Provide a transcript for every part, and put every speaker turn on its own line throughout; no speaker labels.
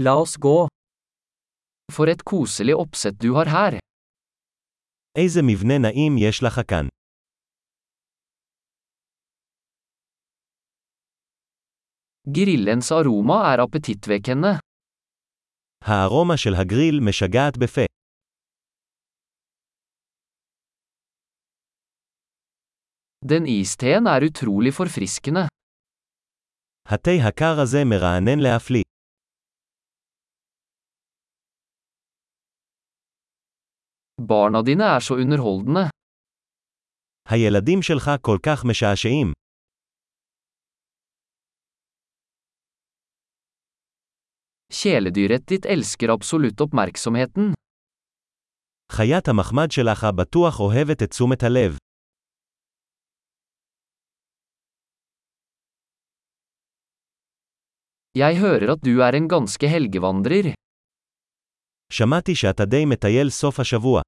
La oss gå. For et koselig oppsett du har her.
איזה מבנה נעים יש לך כאן.
Grillens aroma er appetittvekkende.
הארומה של הגריל משגעת בפה.
Den isteen er utrolig forfriskende.
התה הקר הזה מרענן להפליא.
Barna dine er så underholdende.
הילדים שלך כל כך משעשעים.
Kjæledyret ditt elsker absolutt oppmerksomheten.
חיית המחמד שלך בטוח אוהבת את תשומת הלב.
Jeg hører at du er en ganske helgevandrer.
שמעתי שאתה די מטייל סוף השבוע.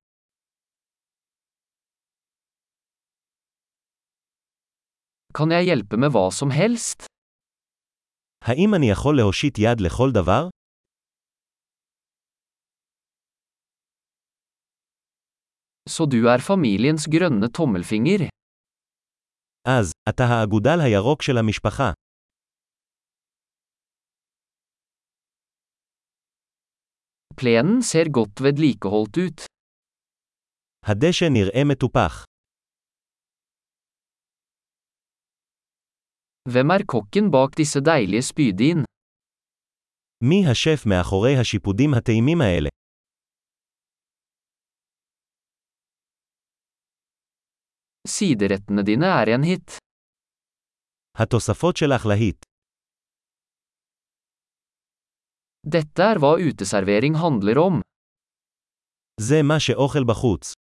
Kan jeg hjelpe med hva som helst?
האם אני יכול להושיט יד לכל דבר?
Så du er familiens grønne tommelfinger.
אז, אתה האגודל הירוק של המשפחה.
Plenen ser godt vedlikeholdt ut.
הדשא נראה מטופח.
Hvem er kokken bak disse deilige spydin?
מי השף מאחורי השיפודים הטעימים האלה?
Siderettene dine er en hit.
התוספות שלך להיט.
Dette er hva uteservering handler om.
זה מה שאוכל בחוץ.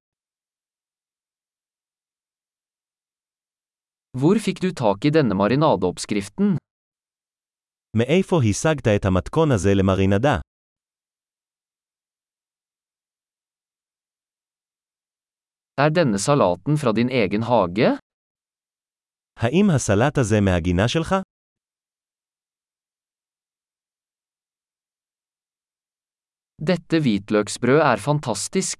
Hvor fikk du tak i denne marinadeoppskriften?
מאיפה השגת את המתכון הזה למרינדה?
Er denne salaten fra din egen hage?
האם הסלט הזה מהגינה שלך?
Dette hvitløksbrød er fantastisk.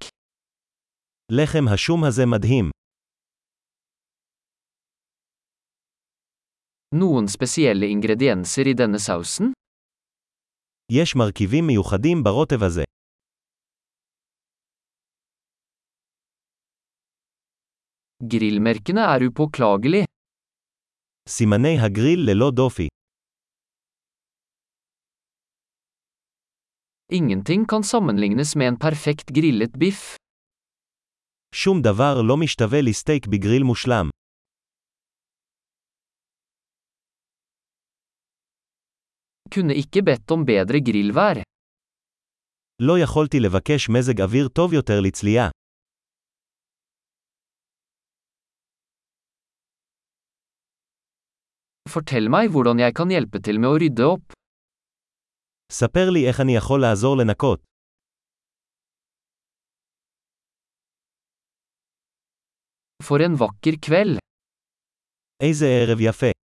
לחם השום הזה מדהים.
Noen spesielle ingredienser i denne sausen?
יש מרכיבים מיוחדים ברוטב הזה.
Grillmerkene er upåklagelig.
סימני הגריל ללא דופי.
Ingenting kan sammenlignes med en perfekt grillet biff.
שום דבר לא משתווה לסטייק בגריל מושלם.
Kunne ikke bedt om bedre grillvær.
לא יכולתי לבקש מזג אוויר טוב יותר לצלייה.
Fortell meg hvordan jeg kan hjelpe til med å rydde opp.
ספר לי איך אני יכול לעזור לנקות.
For en vakker kveld.
איזה ערב יפה.